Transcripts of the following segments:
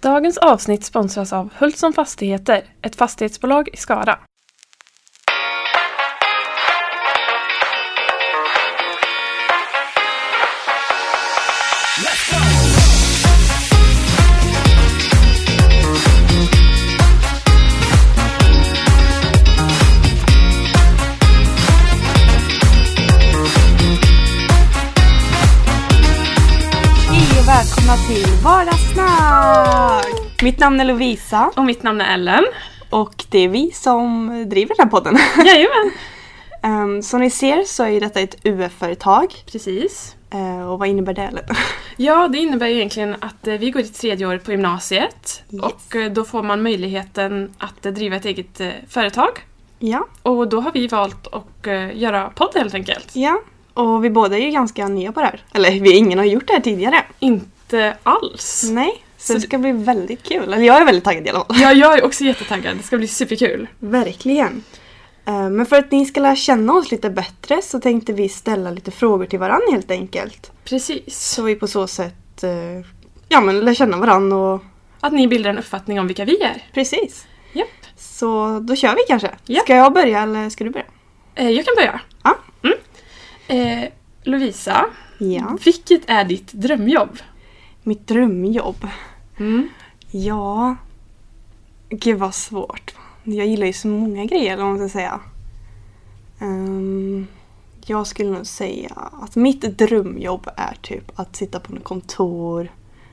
Dagens avsnitt sponsras av Hultsson Fastigheter, ett fastighetsbolag i Skara. Hej och välkomna till Vardagssnack! Mitt namn är Lovisa Och mitt namn är Ellen. och det är vi som driver den här podden. Jajamän! Ehm, som ni ser så är ju detta ett UF-företag. Precis. Eh, och vad innebär det? Eller? Ja, det innebär ju egentligen att eh, vi går i tredje året på gymnasiet och eh, då får man möjligheten att eh, driva ett eget eh, företag. ja, Och då har vi valt att eh, göra podd helt enkelt. ja. Och vi båda är ju ganska nya på det här. Eller vi, ingen har gjort det här tidigare. Inte alls. Nej, så, Så det det- ska bli väldigt kul. Eller jag är väldigt taggad i alla fall. Ja, jag är också jättetaggad. Det ska bli superkul. Verkligen. Eh, Men för att ni ska lära känna oss lite bättre så tänkte vi ställa lite frågor till varandra helt enkelt. Precis. Så vi på så sätt eh, ja, men lär känna varandra och Att ni bildar en uppfattning om vilka vi är. Precis. Japp. Så då kör vi kanske. Ja. Ska jag börja eller ska du börja? Eh, Jag kan börja. Ja. Mm. Eh, Lovisa, Ja. vilket är ditt drömjobb? Mm. Mitt drömjobb? Mm. Ja... Gud vad svårt. Jag gillar ju så många grejer eller vad man ska säga. Ehm, jag skulle nog säga att mitt drömjobb är typ att sitta på något kontor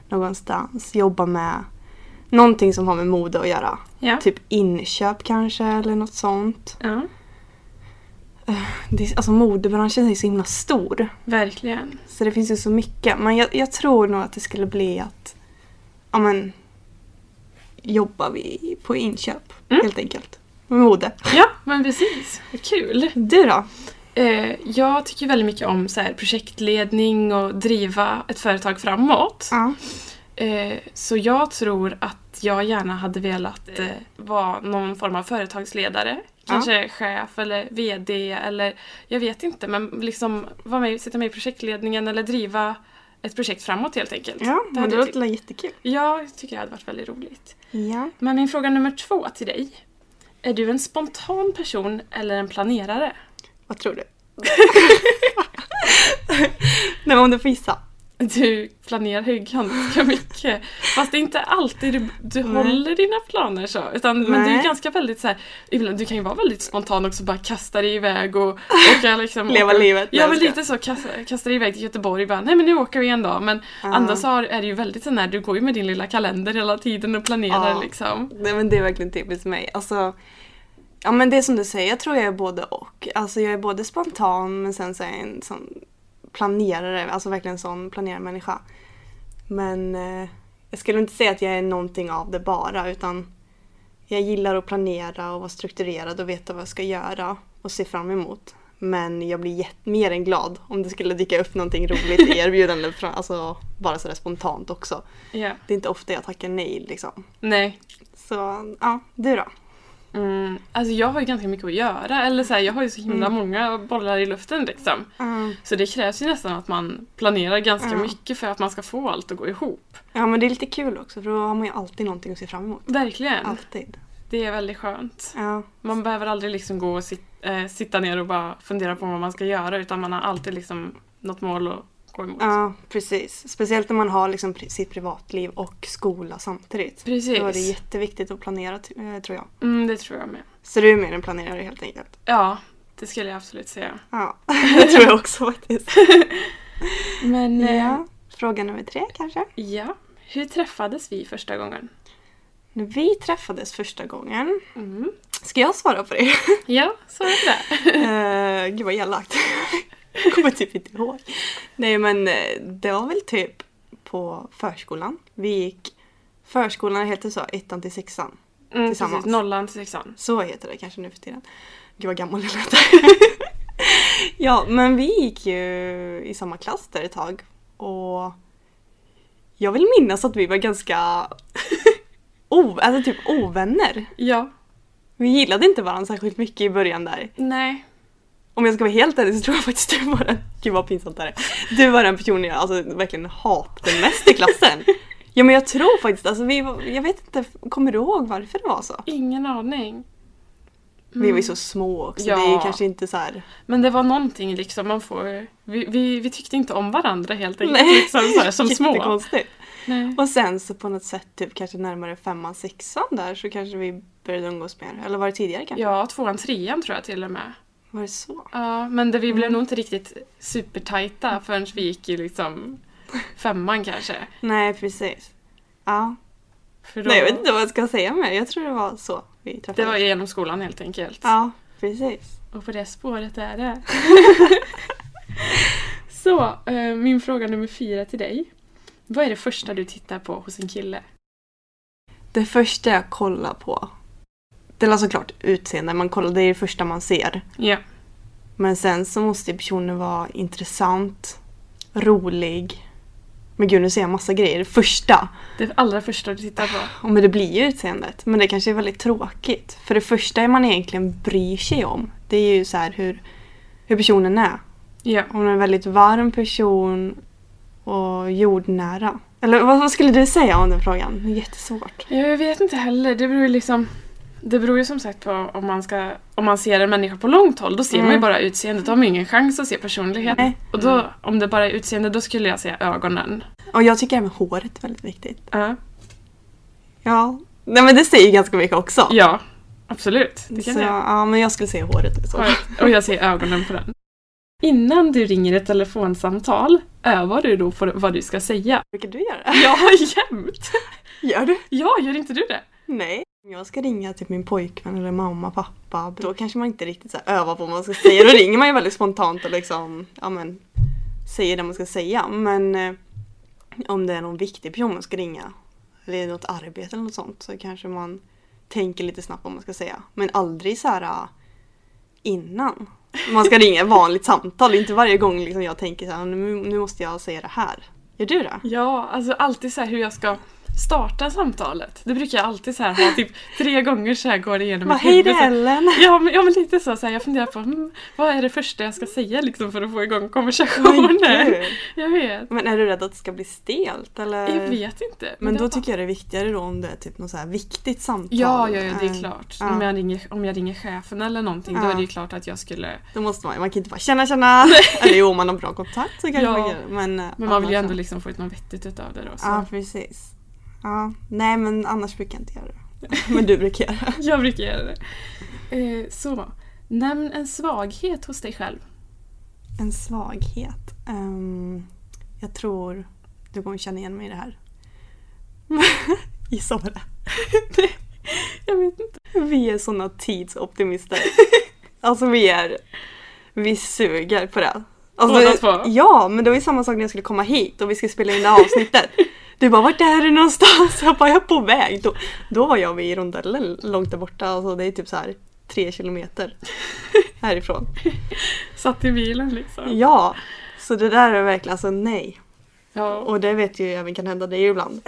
någonstans, jobba med någonting som har med mode att göra. Ja. Typ inköp kanske eller något sånt. ja, Det är, alltså modebranschen är ju så himla stor. verkligen. Så det finns ju så mycket. Men jag, jag tror nog att det skulle bli att ja, men, jobba vi på inköp Mm. helt enkelt. Med mode. Ja, men precis. Vad kul. Du då? Eh, jag tycker väldigt mycket om så här, projektledning och driva ett företag framåt. Ja. Eh, så jag tror att jag gärna hade velat eh, vara någon form av företagsledare. Kanske chef eller VD eller jag vet inte men liksom vara med, sitta med i projektledningen eller driva ett projekt framåt helt enkelt. Ja, det men hade det jag låter tyckt, väl jättekul. ja, jag tycker det hade varit väldigt roligt. Ja. Men min fråga nummer två till dig. Är du en spontan person eller en planerare? Vad tror du? Nej, men om du får gissa. Du planerar ju ganska mycket. Fast det är inte alltid du, du Nej. håller dina planer så. Utan, men du är Nej. ganska väldigt så här, ibland, du kan ju vara väldigt spontan också, bara kasta dig iväg och åka liksom. Leva åka, livet. Ja men Nej, lite så, kasta, kasta dig iväg till Göteborg bara, nej men nu åker vi en dag. Men Ja. andra så har, är det ju väldigt sån här, du går ju med din lilla kalender hela tiden och planerar Ja. liksom. Nej men det är verkligen typiskt mig. Alltså, ja men det är som du säger, jag tror jag är både och. Alltså jag är både spontan men sen så är jag en sån planerare, alltså verkligen en sån planerarmänniska. Men eh, jag skulle inte säga att jag är någonting av det bara utan jag gillar att planera och vara strukturerad och veta vad jag ska göra och se fram emot. Men jag blir jätt, mer än glad om det skulle dyka upp någonting roligt i erbjudande, från- alltså bara sådär spontant också. Ja. Det är inte ofta jag tackar nej liksom. Nej. Så ja, du då? Mm. Alltså jag har ju ganska mycket att göra. Eller så här, jag har ju så himla Mm. många bollar i luften liksom. Eh, Så det krävs ju nästan att man planerar ganska Ja. mycket för att man ska få allt att gå ihop. Ja men det är lite kul också för då har man ju alltid någonting att se fram emot. Verkligen. Alltid. Det är väldigt skönt. Ja, Man behöver aldrig liksom gå och sit, eh, sitta ner och bara fundera på vad man ska göra utan man har alltid liksom något mål att gå emot. ja precis. Speciellt när man har liksom pri- sitt privatliv och skola samtidigt. Precis. Då är det jätteviktigt att planera ty- eh, tror jag. Mm, det tror jag med. Så du är mer en planerare helt enkelt? Ja, det skulle jag absolut säga. Ja, det tror jag också faktiskt. Men eh, ja. Ja. Fråga nummer tre kanske? hur träffades vi första gången? När vi träffades första gången. Mm. Ska jag svara på det? Ja, så är det. Eh, gud vad elakt. Jag kommer typ inte ihåg. Nej men eh, det var väl typ på förskolan. Vi gick förskolan heter så, ettan till sexan. Mm, Tillsammans. precis, nollan till sexan. Så heter det kanske nu för tiden. Gud vad gammal jag låter. ja men vi gick ju i samma klass där ett tag. Och jag vill minnas att vi var ganska o, alltså typ ovänner. Ja, Vi gillade inte varandra särskilt mycket i början där. nej. Om jag ska vara helt ärlig så tror jag faktiskt du var den, gud vad pinsamt det här är. Du var den personen jag alltså, verkligen hatade mest i klassen. Ja men jag tror faktiskt, alltså vi var, jag vet inte, kommer du ihåg varför det var så? Ingen aning. Vi var ju så små också, Mm. Ja. det är kanske inte så här. Men det var någonting liksom man får... Vi, vi, vi tyckte inte om varandra helt enkelt. Nej. Liksom, så här, som små. Jättekonstigt. Nej. Och sen så på något sätt typ kanske närmare femman, sexan där så kanske vi började umgås mer. Eller var det tidigare kanske? Ja, tvåan, trean tror jag till och med. Var det så? Ja, men det, vi Mm. blev nog inte riktigt supertajta förrän vi gick i liksom femman kanske. Nej precis. Ja. För då, Nej jag vet inte vad jag ska säga mer. Jag tror det var så vi träffades. Det var genom skolan helt enkelt. Ja, precis. Och på det spåret är det. Så, eh, min fråga nummer fyra till dig. Vad är det första du tittar på hos en kille? Det första jag kollar på. Det är såklart utseende, man kollar, det är det första man ser. Ja. Men sen så måste ju personen vara intressant, rolig. Men gud nu ser jag massa grejer. Det första. Det allra första du tittar på. Och men det blir ju utseendet. Men det kanske är väldigt tråkigt. För det första man egentligen bryr sig om, det är ju så här hur, hur personen är. Ja. Om den är en väldigt varm person och jordnära. Eller vad, vad skulle du säga om den frågan? Det är jättesvårt. Ja, Jag vet inte heller. Det beror ju liksom... Det beror ju som sagt på om man, ska, om man ser en människa på långt håll. Då ser man ju Mm. bara utseendet. Då har man ju ingen chans att se personligheten. Nej. Och då, om det bara är utseende, då skulle jag säga ögonen. Och jag tycker även håret är väldigt viktigt. Ja, Ja. Nej men det säger ju ganska mycket också. ja absolut. Det kan så, jag. ja men jag skulle säga håret. liksom. Så. Och jag ser ögonen på den. Innan du ringer ett telefonsamtal, övar du då på vad du ska säga? Brukar du göra? Ja, jämt! Gör du? Ja, gör inte du det? Nej. Om jag ska ringa till min pojkvän eller mamma, pappa, då kanske man inte riktigt så här övar på vad man ska säga. Då ringer man ju väldigt spontant och liksom, ja men, säger det man ska säga. Men eh, om det är någon viktig person man ska ringa, eller något arbete eller något sånt, så kanske man tänker lite snabbt vad man ska säga. Men aldrig så här eh, innan. Man ska ringa ett vanligt samtal, inte varje gång liksom jag tänker så här, nu, nu måste jag säga det här. Gör du det? Ja, alltså alltid så här hur jag ska starta samtalet. Det brukar jag alltid så här ha typ tre gånger så här går det igenom Vad mitt hej det huvud. är så här. Ellen! Ja men, ja men lite så, så här, jag funderar på hmm, vad är det första jag ska säga liksom för att få igång Men konversationen. gud. Jag vet. Men är du rädd att det ska bli stelt eller? Jag vet inte. Men det då var- tycker jag det är viktigare då om det är typ något så här viktigt samtal. Ja, ja, ja, det Eh, är klart. Ja. Om, jag ringer, om jag ringer chefen eller någonting då Ja. är det ju klart att jag skulle... Då måste man, man kan inte bara känna känna. eller jo, om man har bra kontakt så kanske Ja. man kan Men, eh, Men man vill ju annars- ändå liksom få ut något vettigt utav det då. Så. Ja, precis. Ja, nej men annars brukar jag inte göra det. Men du brukar göra det. Jag brukar göra det. Eh, så. Nämn en svaghet hos dig själv. En svaghet. Ehm, jag tror du kommer känna igen mig i det här. Gissa vad det är. Jag vet inte. Vi är såna tidsoptimister. alltså vi är... Vi suger på det. Alltså, Båda två? Ja, men det var ju samma sak när jag skulle komma hit och vi skulle spela in det här avsnittet. Du bara vart är du någonstans? Jag bara jag är på väg. Då, då var jag vid rondellen långt där borta. Alltså det är typ så här tre kilometer härifrån. Satt i bilen liksom. Ja, så det där är verkligen alltså nej. Ja, Och det vet ju även kan hända dig ibland.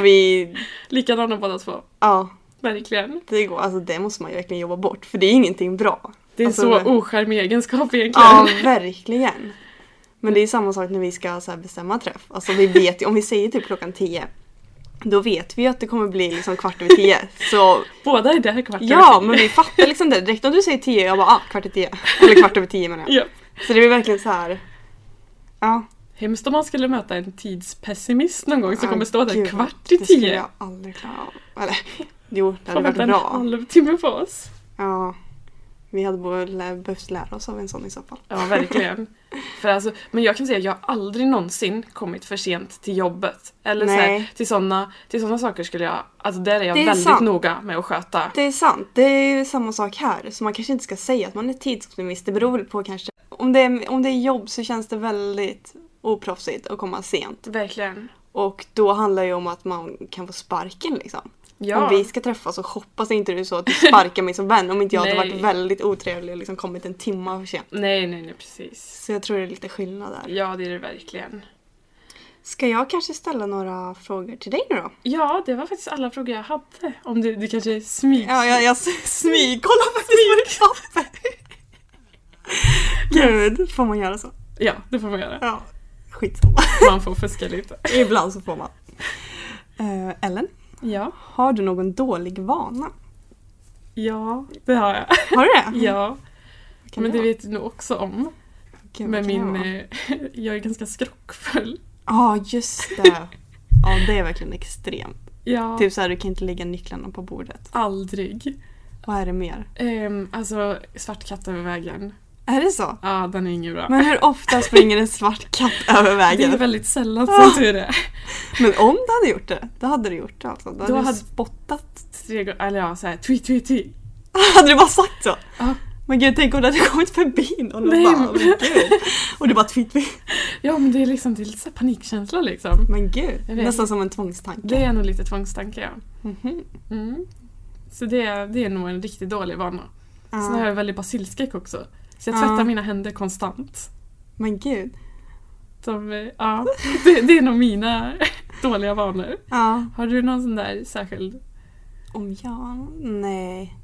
vi, likadana båda två. ja Verkligen. det går, alltså det måste man ju verkligen jobba bort för det är ingenting bra. Det är Alltså, så men- ocharmig egenskap egentligen. Ja, verkligen. Men det är samma sak när vi ska så här bestämma träff. Alltså vi vet ju, om vi säger typ klockan 10 då vet vi ju att det kommer bli liksom kvart över 10. Så Båda är där kvart ja, över men vi fattar liksom det. Direkt om du säger 10, jag bara ah, kvart över 10. Eller kvart över 10 menar jag. tio. ja. Så det är verkligen så här. Ja. Hemskt om man skulle möta en tidspessimist någon gång som kommer stå där Gud, kvart i Det skulle tio. jag aldrig klara av. Eller jo, det Får hade vänta varit en bra. halvtimme på oss. Ja. Vi hade bo- lä- behövt lära oss av en sån i så fall. Ja, verkligen. För alltså, men jag kan säga att jag har aldrig någonsin kommit för sent till jobbet. Eller så här, Nej. till sådana till såna saker skulle jag... Alltså där är jag Det är väldigt sant. noga med att sköta. Det är sant. Det är ju samma sak här. Så man kanske inte ska säga att man är tidsoptimist. Det beror väl på kanske. Om det är, om det är jobb så känns det väldigt oproffsigt att komma sent. Verkligen. Och då handlar det ju om att man kan få sparken liksom. Ja. Om vi ska träffas så hoppas inte du så att du sparkar mig som vän om inte jag hade Nej. varit väldigt otrevlig och liksom kommit en timme för sent. Nej, nej, nej, precis. Så jag tror det är lite skillnad där. Ja, det är det verkligen. Ska jag kanske ställa några frågor till dig nu då? Ja, det var faktiskt alla frågor jag hade. Om du, du kanske smyg... Ja, jag, jag smygkollar faktiskt på ditt papper. Gud, får man göra så? Ja, det får man göra. Ja, skitsamma. Man får fuska lite. Ibland så får man. Eh, Ellen, Ja. har du någon dålig vana? Ja, det har jag. Har du det? Ja, Vad kan men det det vara? vet du nog också om. Gud, vad Med kan min... det vara? eh, Jag är ganska skrockfull. Ja, just det. Ja, det är verkligen extremt. Ja, Typ såhär, du kan inte lägga nycklarna på bordet. aldrig. Vad är det mer? Ehm, alltså, svart katt över vägen. Är det så? Ja, den är ingen bra. Men hur ofta springer en svart katt över Det är vägen? väldigt sällan Ah. som tur är. Men om du hade gjort det, då hade du gjort det alltså. Då hade Då du hade- spottat. Tre gånger, eller ja, såhär twi twi twi. Hade du bara sagt så? Ja. Men gud, tänk om du hade kommit förbi någon och Nej, bara, men- men gud. Och du bara twitt, twitt. Ja men det är liksom det är lite så här panikkänsla liksom. Men gud, Jag vet. nästan som en tvångstanke. Det är nog lite tvångstanke ja. Mhm. Mm. Så det, är- det är nog en riktigt dålig vana. Ja. Sen har jag väldigt basilskräck också. Så jag Ja. tvättar mina händer konstant. Men gud. De, eh, ja, det, det är nog mina dåliga vanor. Ja. Har du någon sån där särskild? Om jag... Nej.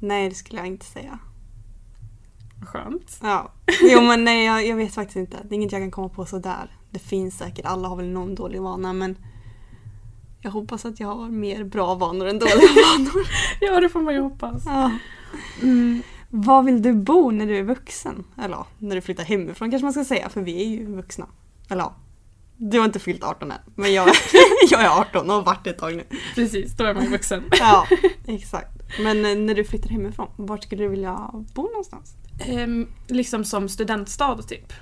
Nej, det skulle jag inte säga. Skönt. Ja. Jo men nej, jag, jag vet faktiskt inte. Det är inget jag kan komma på sådär. Det finns säkert, alla har väl någon dålig vana men jag hoppas att jag har mer bra vanor än dåliga vanor. Ja det får man ju hoppas. Ja. Mm. Var vill du bo när du är vuxen? Eller ja, när du flyttar hemifrån kanske man ska säga, för vi är ju vuxna. Eller ja, du har inte fyllt 18 än, men jag, jag är 18 och har varit det ett tag nu. Precis, då är man ju vuxen. Ja, exakt. Men eh, när du flyttar hemifrån, vart skulle du vilja bo någonstans? Ehm, liksom som studentstad typ.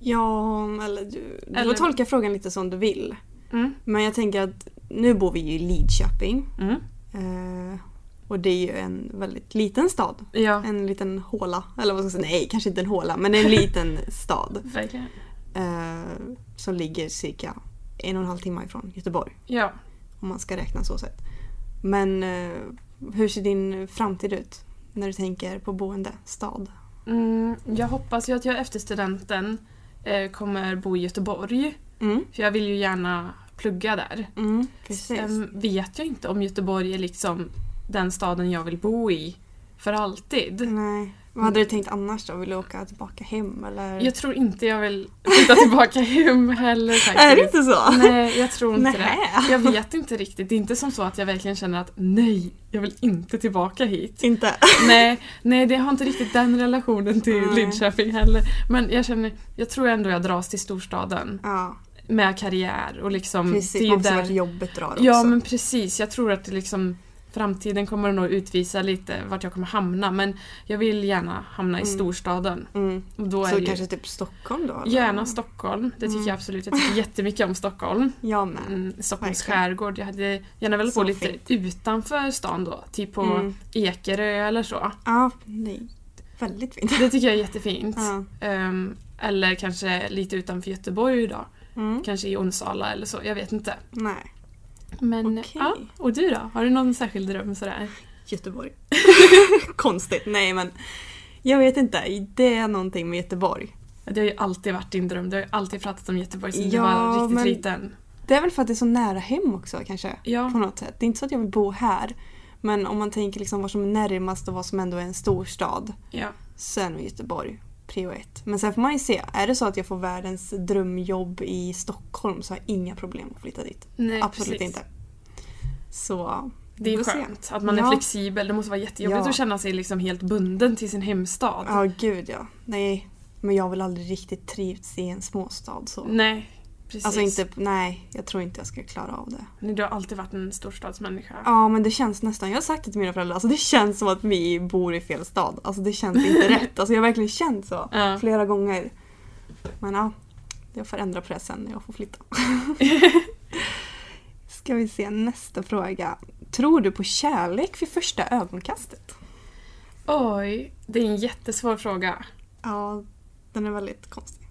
Ja, eller du, du Eller- får tolka frågan lite som du vill. Mm. Men jag tänker att nu bor vi ju i Lidköping. Mm. eh, Och det är ju en väldigt liten stad. Ja, En liten håla. Eller vad ska jag säga? Nej, kanske inte en håla. Men en liten stad. verkligen. eh, Som ligger cirka en och en halv timme ifrån Göteborg. Ja. Om man ska räkna så sett. Men eh, hur ser din framtid ut? När du tänker på boende, stad? Mm, jag hoppas ju att jag efter studenten eh, kommer bo i Göteborg. Mm, För jag vill ju gärna plugga där. mm, precis. Sen vet jag inte om Göteborg är liksom den staden jag vill bo i för alltid. Nej. Ehm, Vad hade du tänkt annars då? Vill du åka tillbaka hem eller? Jag tror inte jag vill flytta tillbaka hem heller faktiskt. Är det inte så? Nej, jag tror inte Nähä. det. Jag vet inte riktigt. Det är inte som så att jag verkligen känner att nej, jag vill inte tillbaka hit. Inte? Nej, nej det har inte riktigt den relationen till Nej. Linköping heller. Men jag känner, jag tror ändå jag dras till storstaden. Ja. Med karriär och liksom... Precis, det är man ju måste där- vart jobbet drar också. Ja men precis, jag tror att det liksom framtiden kommer att nog utvisa lite vart jag kommer hamna men jag vill gärna hamna i Mm. storstaden. mm. Och då är Så det kanske ju typ Stockholm då? eller? gärna Stockholm, det tycker Mm. jag absolut. Jag tycker jättemycket om Stockholm. Jag med. Mm, Stockholms Verkligen. skärgård. Jag hade gärna velat Så bo lite fint. utanför stan då, typ på Mm. Ekerö eller så. Ja, nej. Väldigt fint. Det tycker jag är jättefint. Ja. Ehm, eller kanske lite utanför Göteborg då. Mm. Kanske i Onsala eller så, jag vet inte. Nej. Men Okej. ja, och du då? Har du någon särskild dröm sådär? Göteborg. Konstigt. Nej men. Jag vet inte. Det är någonting med Göteborg. Det har ju alltid varit din dröm. Du har ju alltid pratat om Göteborg sedan Ja, du var riktigt men- liten. Det är väl för att det är så nära hem också kanske. På Ja, något sätt. Det är inte så att jag vill bo här. Men om man tänker liksom vad som är närmast och vad som ändå är en storstad. ja. Sen med Göteborg. Prio ett. Men sen får man ju se. Är det så att jag får världens drömjobb i Stockholm så har jag inga problem att flytta dit. Nej, Absolut precis. inte. Så Det är ju Vi får se. skönt att man är Ja. flexibel. Det måste vara jättejobbigt Ja. att känna sig liksom helt bunden till sin hemstad. Ja, gud ja. Nej, men jag har väl aldrig riktigt trivts i en småstad så. Nej, precis. alltså inte, nej, jag tror inte jag ska klara av det. Nej, Du har alltid varit en storstadsmänniska. Ja, men det känns nästan, jag har sagt det till mina föräldrar, alltså det känns som att vi bor i fel stad. Alltså det känns inte rätt. Alltså jag har verkligen känt så Ja. flera gånger. Men ja, jag får ändra på det sen när jag får flytta. ska vi se nästa fråga. Tror du på kärlek vid första ögonkastet? Oj, det är en jättesvår fråga. Ja, den är väldigt konstig.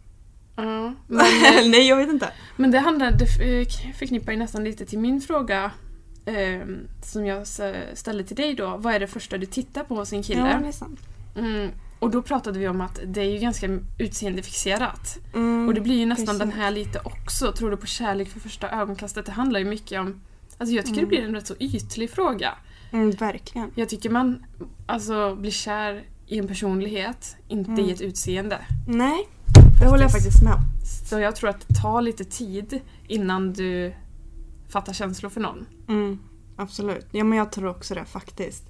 Ja, men, eh, nej, jag vet inte. men det handlar, det f- eh, förknippar ju nästan lite till min fråga ehm, som jag s- ställde till dig då. Vad är det första du tittar på hos en kille? Ja, det är sant. Mm, och då pratade vi om att det är ju ganska utseendefixerat. Mm. Och det blir ju nästan precis. den här lite också. Tror du på kärlek för första ögonkastet? Det handlar ju mycket om... Alltså jag tycker det blir en rätt så ytlig fråga. Mm, verkligen. Jag tycker man alltså, blir kär i en personlighet, inte Mm. i ett utseende. Nej, det håller jag faktiskt med om. Så jag tror att det tar lite tid innan du fatta känslor för någon. Mm, absolut. Ja men jag tror också det faktiskt.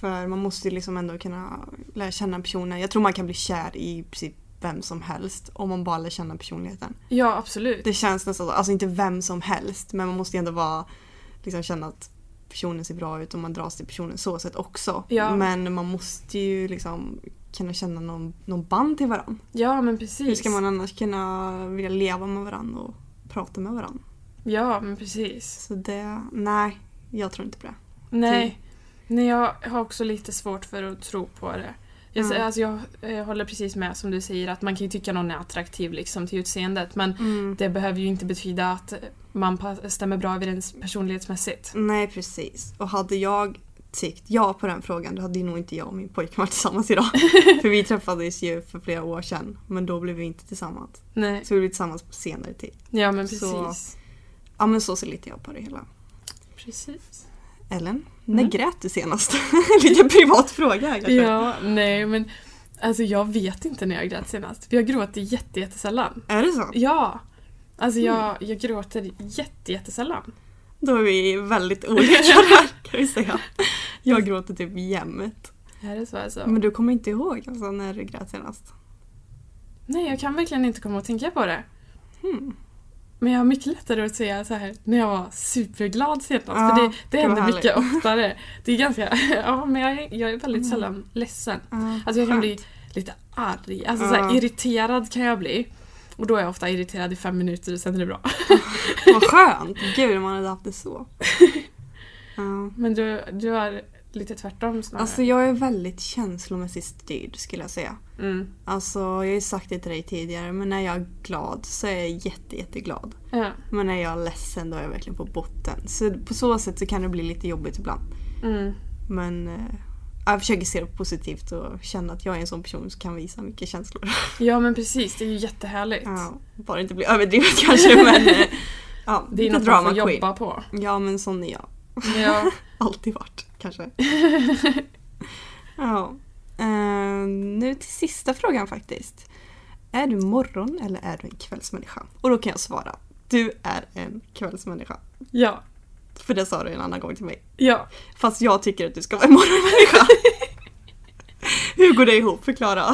För man måste ju liksom ändå kunna lära känna personen. Jag tror man kan bli kär i princip vem som helst om man bara lär känna personligheten. Ja, absolut. Det känns nästan så, alltså inte vem som helst men man måste ju ändå vara, liksom känna att personen ser bra ut och man dras till personen så sett också. Ja. Men man måste ju liksom kunna känna någon, någon band till varandra. Ja, men precis. Hur ska man annars kunna vilja leva med varandra och prata med varandra? Ja, men precis. Så det, nej, jag tror inte på det. Typ. Nej. Nej, jag har också lite svårt för att tro på det. Jag, Mm. alltså, jag, eh, håller precis med som du säger att man kan ju tycka någon är attraktiv liksom till utseendet men Mm. det behöver ju inte betyda att man pa- stämmer bra överens personlighetsmässigt. Nej precis. Och hade jag tyckt ja på den frågan då hade ju nog inte jag och min pojkvän varit tillsammans idag. för vi träffades ju för flera år sedan men då blev vi inte tillsammans. Nej, Så vi blev tillsammans på senare tid. ja men precis. Så- Ja men så ser lite jag på det hela. precis. Ellen, Mm. när grät du senast? lite privat fråga här kanske. Ja, nej men alltså jag vet inte när jag grät senast. För jag gråter jätte, jättesällan. Är det så? Ja! Alltså Mm. jag, jag gråter jätte, jättesällan. Då är vi väldigt olika där kan vi säga. Jag gråter typ jämt. Är det så alltså? Men du kommer inte ihåg alltså, när du grät senast? Nej, jag kan verkligen inte komma att tänka på det. Hmm. Men jag har mycket lättare att säga så här när jag var superglad senast. Ja, för det, det det var händer mycket oftare. Det är ganska, ja men jag, är- jag är väldigt sällan ledsen. Ja, Alltså jag kan Mm. skönt. bli lite arg, alltså Ja. så här, irriterad kan jag bli. Och då är jag ofta irriterad i fem minuter och sen är det bra. Vad skönt! Gud om man hade haft det så. Ja. Men du, du är lite tvärtom snarare. Alltså jag är väldigt känslomässigt styrd skulle jag säga. mm. Alltså jag har ju sagt det till dig tidigare men när jag är glad så är jag jätte, jätteglad. Ja. Men när jag är ledsen då är jag verkligen på botten. Så på så sätt så kan det bli lite jobbigt ibland. Mm. Men eh, jag försöker se det positivt och känna att jag är en sån person som kan visa mycket känslor. ja men precis, det är ju jättehärligt. Ja, bara inte bli överdrivet kanske men eh, ja, Det är lite något man drama får queen. jobba på. Ja men sån är jag. Ja. Alltid varit kanske. ja. Eh, nu till sista frågan faktiskt. Är du morgon eller är du en kvällsmänniska? Och då kan jag svara. Du är en kvällsmänniska. ja. För det sa du en annan gång till mig. Ja. Fast jag tycker att du ska vara en morgonmänniska. Hur går det ihop? Förklara.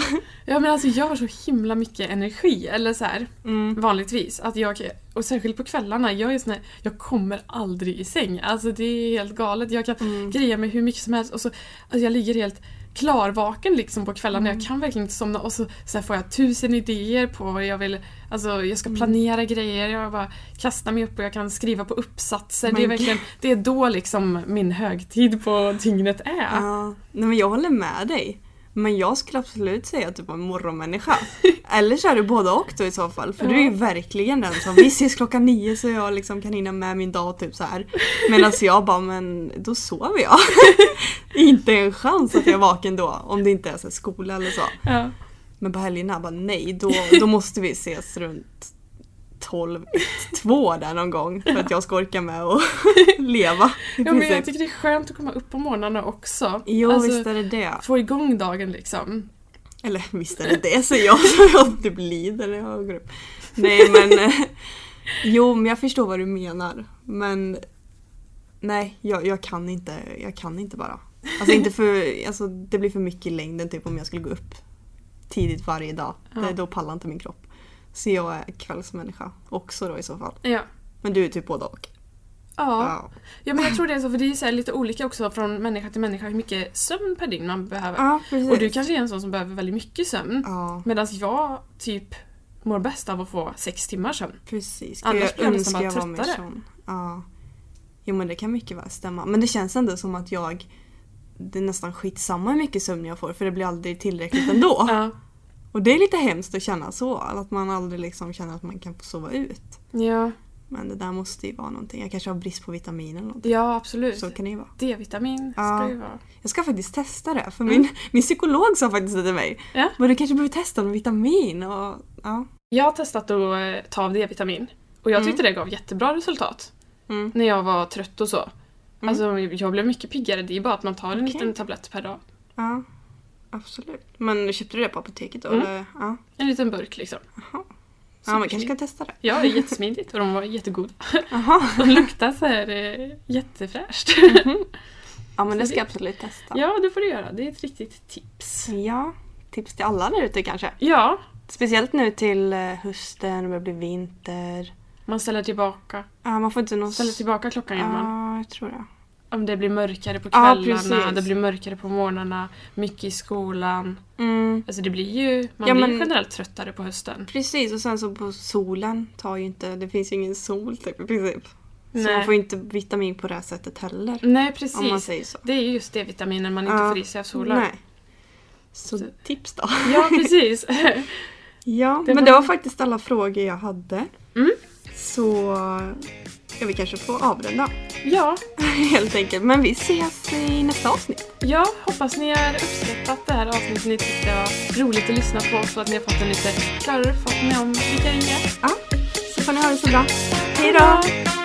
Ja men alltså jag har så himla mycket energi, eller så här Mm. vanligtvis. Att jag, och särskilt på kvällarna, jag är sån här, jag kommer aldrig i säng. Alltså det är helt galet. Jag kan Mm. greja mig hur mycket som helst och så, alltså jag ligger helt klarvaken liksom på kvällarna. Mm. Jag kan verkligen inte somna och så, så här får jag tusen idéer på vad jag vill, alltså jag ska Mm. planera grejer, jag bara kastar mig upp och jag kan skriva på uppsatser. Men det är gud. verkligen, det är då liksom min högtid på dygnet är. Ja. Nej men jag håller med dig. Men jag skulle absolut säga att du var en morgonmänniska. Eller så är du både och då i så fall. För du är ju verkligen den som vi ses klockan nio så jag liksom kan hinna med min dag typ så här. Medan jag bara men då sover jag. inte en chans att jag är vaken då. Om det inte är så här, skola eller så. Ja. Men på helgerna bara nej då, då måste vi ses runt 12, 2 där någon gång. För att jag ska orka med och leva. i Ja, men jag princip. tycker det är skönt att komma upp på morgnarna också. Jo Alltså, visst är det det. Få igång dagen liksom. Eller visst är det det säger jag så jag typ lider när jag går upp. Nej men eh, Jo men jag förstår vad du menar. Men Nej jag, jag kan inte, jag kan inte bara. Alltså inte för, alltså det blir för mycket i längden typ om jag skulle gå upp tidigt varje dag. Ja. Det, då pallar inte min kropp. Så jag är kvällsmänniska också då i så fall. Ja. Men du är typ både och. Ja. ja, men jag tror det är så för det är så här lite olika också från människa till människa hur mycket sömn per dygn man behöver. ja precis. Och du kanske är en sån som behöver väldigt mycket sömn. Ja Medan jag typ mår bäst av att få sex timmar sömn. precis. Annars Annars blir jag jag nästan önskar bara jag var mer tröttare. sån. Ja. Jo men det kan mycket väl stämma. Men det känns ändå som att jag det är nästan skitsamma hur mycket sömn jag får för det blir aldrig tillräckligt ändå. Ja. Och det är lite hemskt att känna så. Att man aldrig liksom känner att man kan få sova ut. Ja, Men det där måste ju vara någonting. Jag kanske har brist på vitaminer eller någonting. ja absolut. Så kan det ju vara. D-vitamin ska Ja. ju vara. Jag ska faktiskt testa det för min, min psykolog sa faktiskt det till mig. Mm. Ja. Men du kanske behöver testa någon vitamin och ja. Jag har testat att eh, ta av D-vitamin. Och jag tyckte det gav jättebra resultat. Mm. När jag var trött och så. Alltså jag blev mycket piggare. Det är bara att man tar en Okej. liten tablett per dag. Ja, absolut. Men köpte du det på apoteket då? Mm. Eller? Ja. En liten burk liksom. Aha. Ja, man kanske kan testa det. Ja, det är jättesmidigt och de var jättegoda. Jaha. De luktar så här eh, jättefräscht. Mhm. Ja, men det ska jag absolut testa. Ja, det får du göra. Det är ett riktigt tips. Ja, tips till alla där ute kanske. Ja, Speciellt nu till eh, hösten, det börjar bli vinter. man ställer tillbaka. Ja, man får inte någon... Ställer tillbaka klockan gör man. Ja, jag tror det. Om det blir mörkare på Ja, kvällarna, precis. det blir mörkare på morgnarna, mycket i skolan. Mm. Alltså det blir ju, man Ja, blir men- generellt tröttare på hösten. Precis, och sen så på solen tar ju inte... Det finns ju ingen sol typ, i princip. Så Nej. man får ju inte vitamin på det här sättet heller. Nej Om man precis. säger så. Det är ju just D-vitaminen man inte Ja. får i sig av solen. Nej. Så Så- tips då. Ja precis. Ja, Det var- men det var faktiskt alla frågor jag hade. Mm. Så ska vi kanske få avrunda ja, helt enkelt. Men vi ses i nästa avsnitt. Ja, hoppas ni har uppskattat det här avsnittet. Ni tyckte det var roligt att lyssna på så att ni har fått en lite klarare uppfattning om vilka vi är. Ja, så får ni ha det så bra. Hej då! Hej då!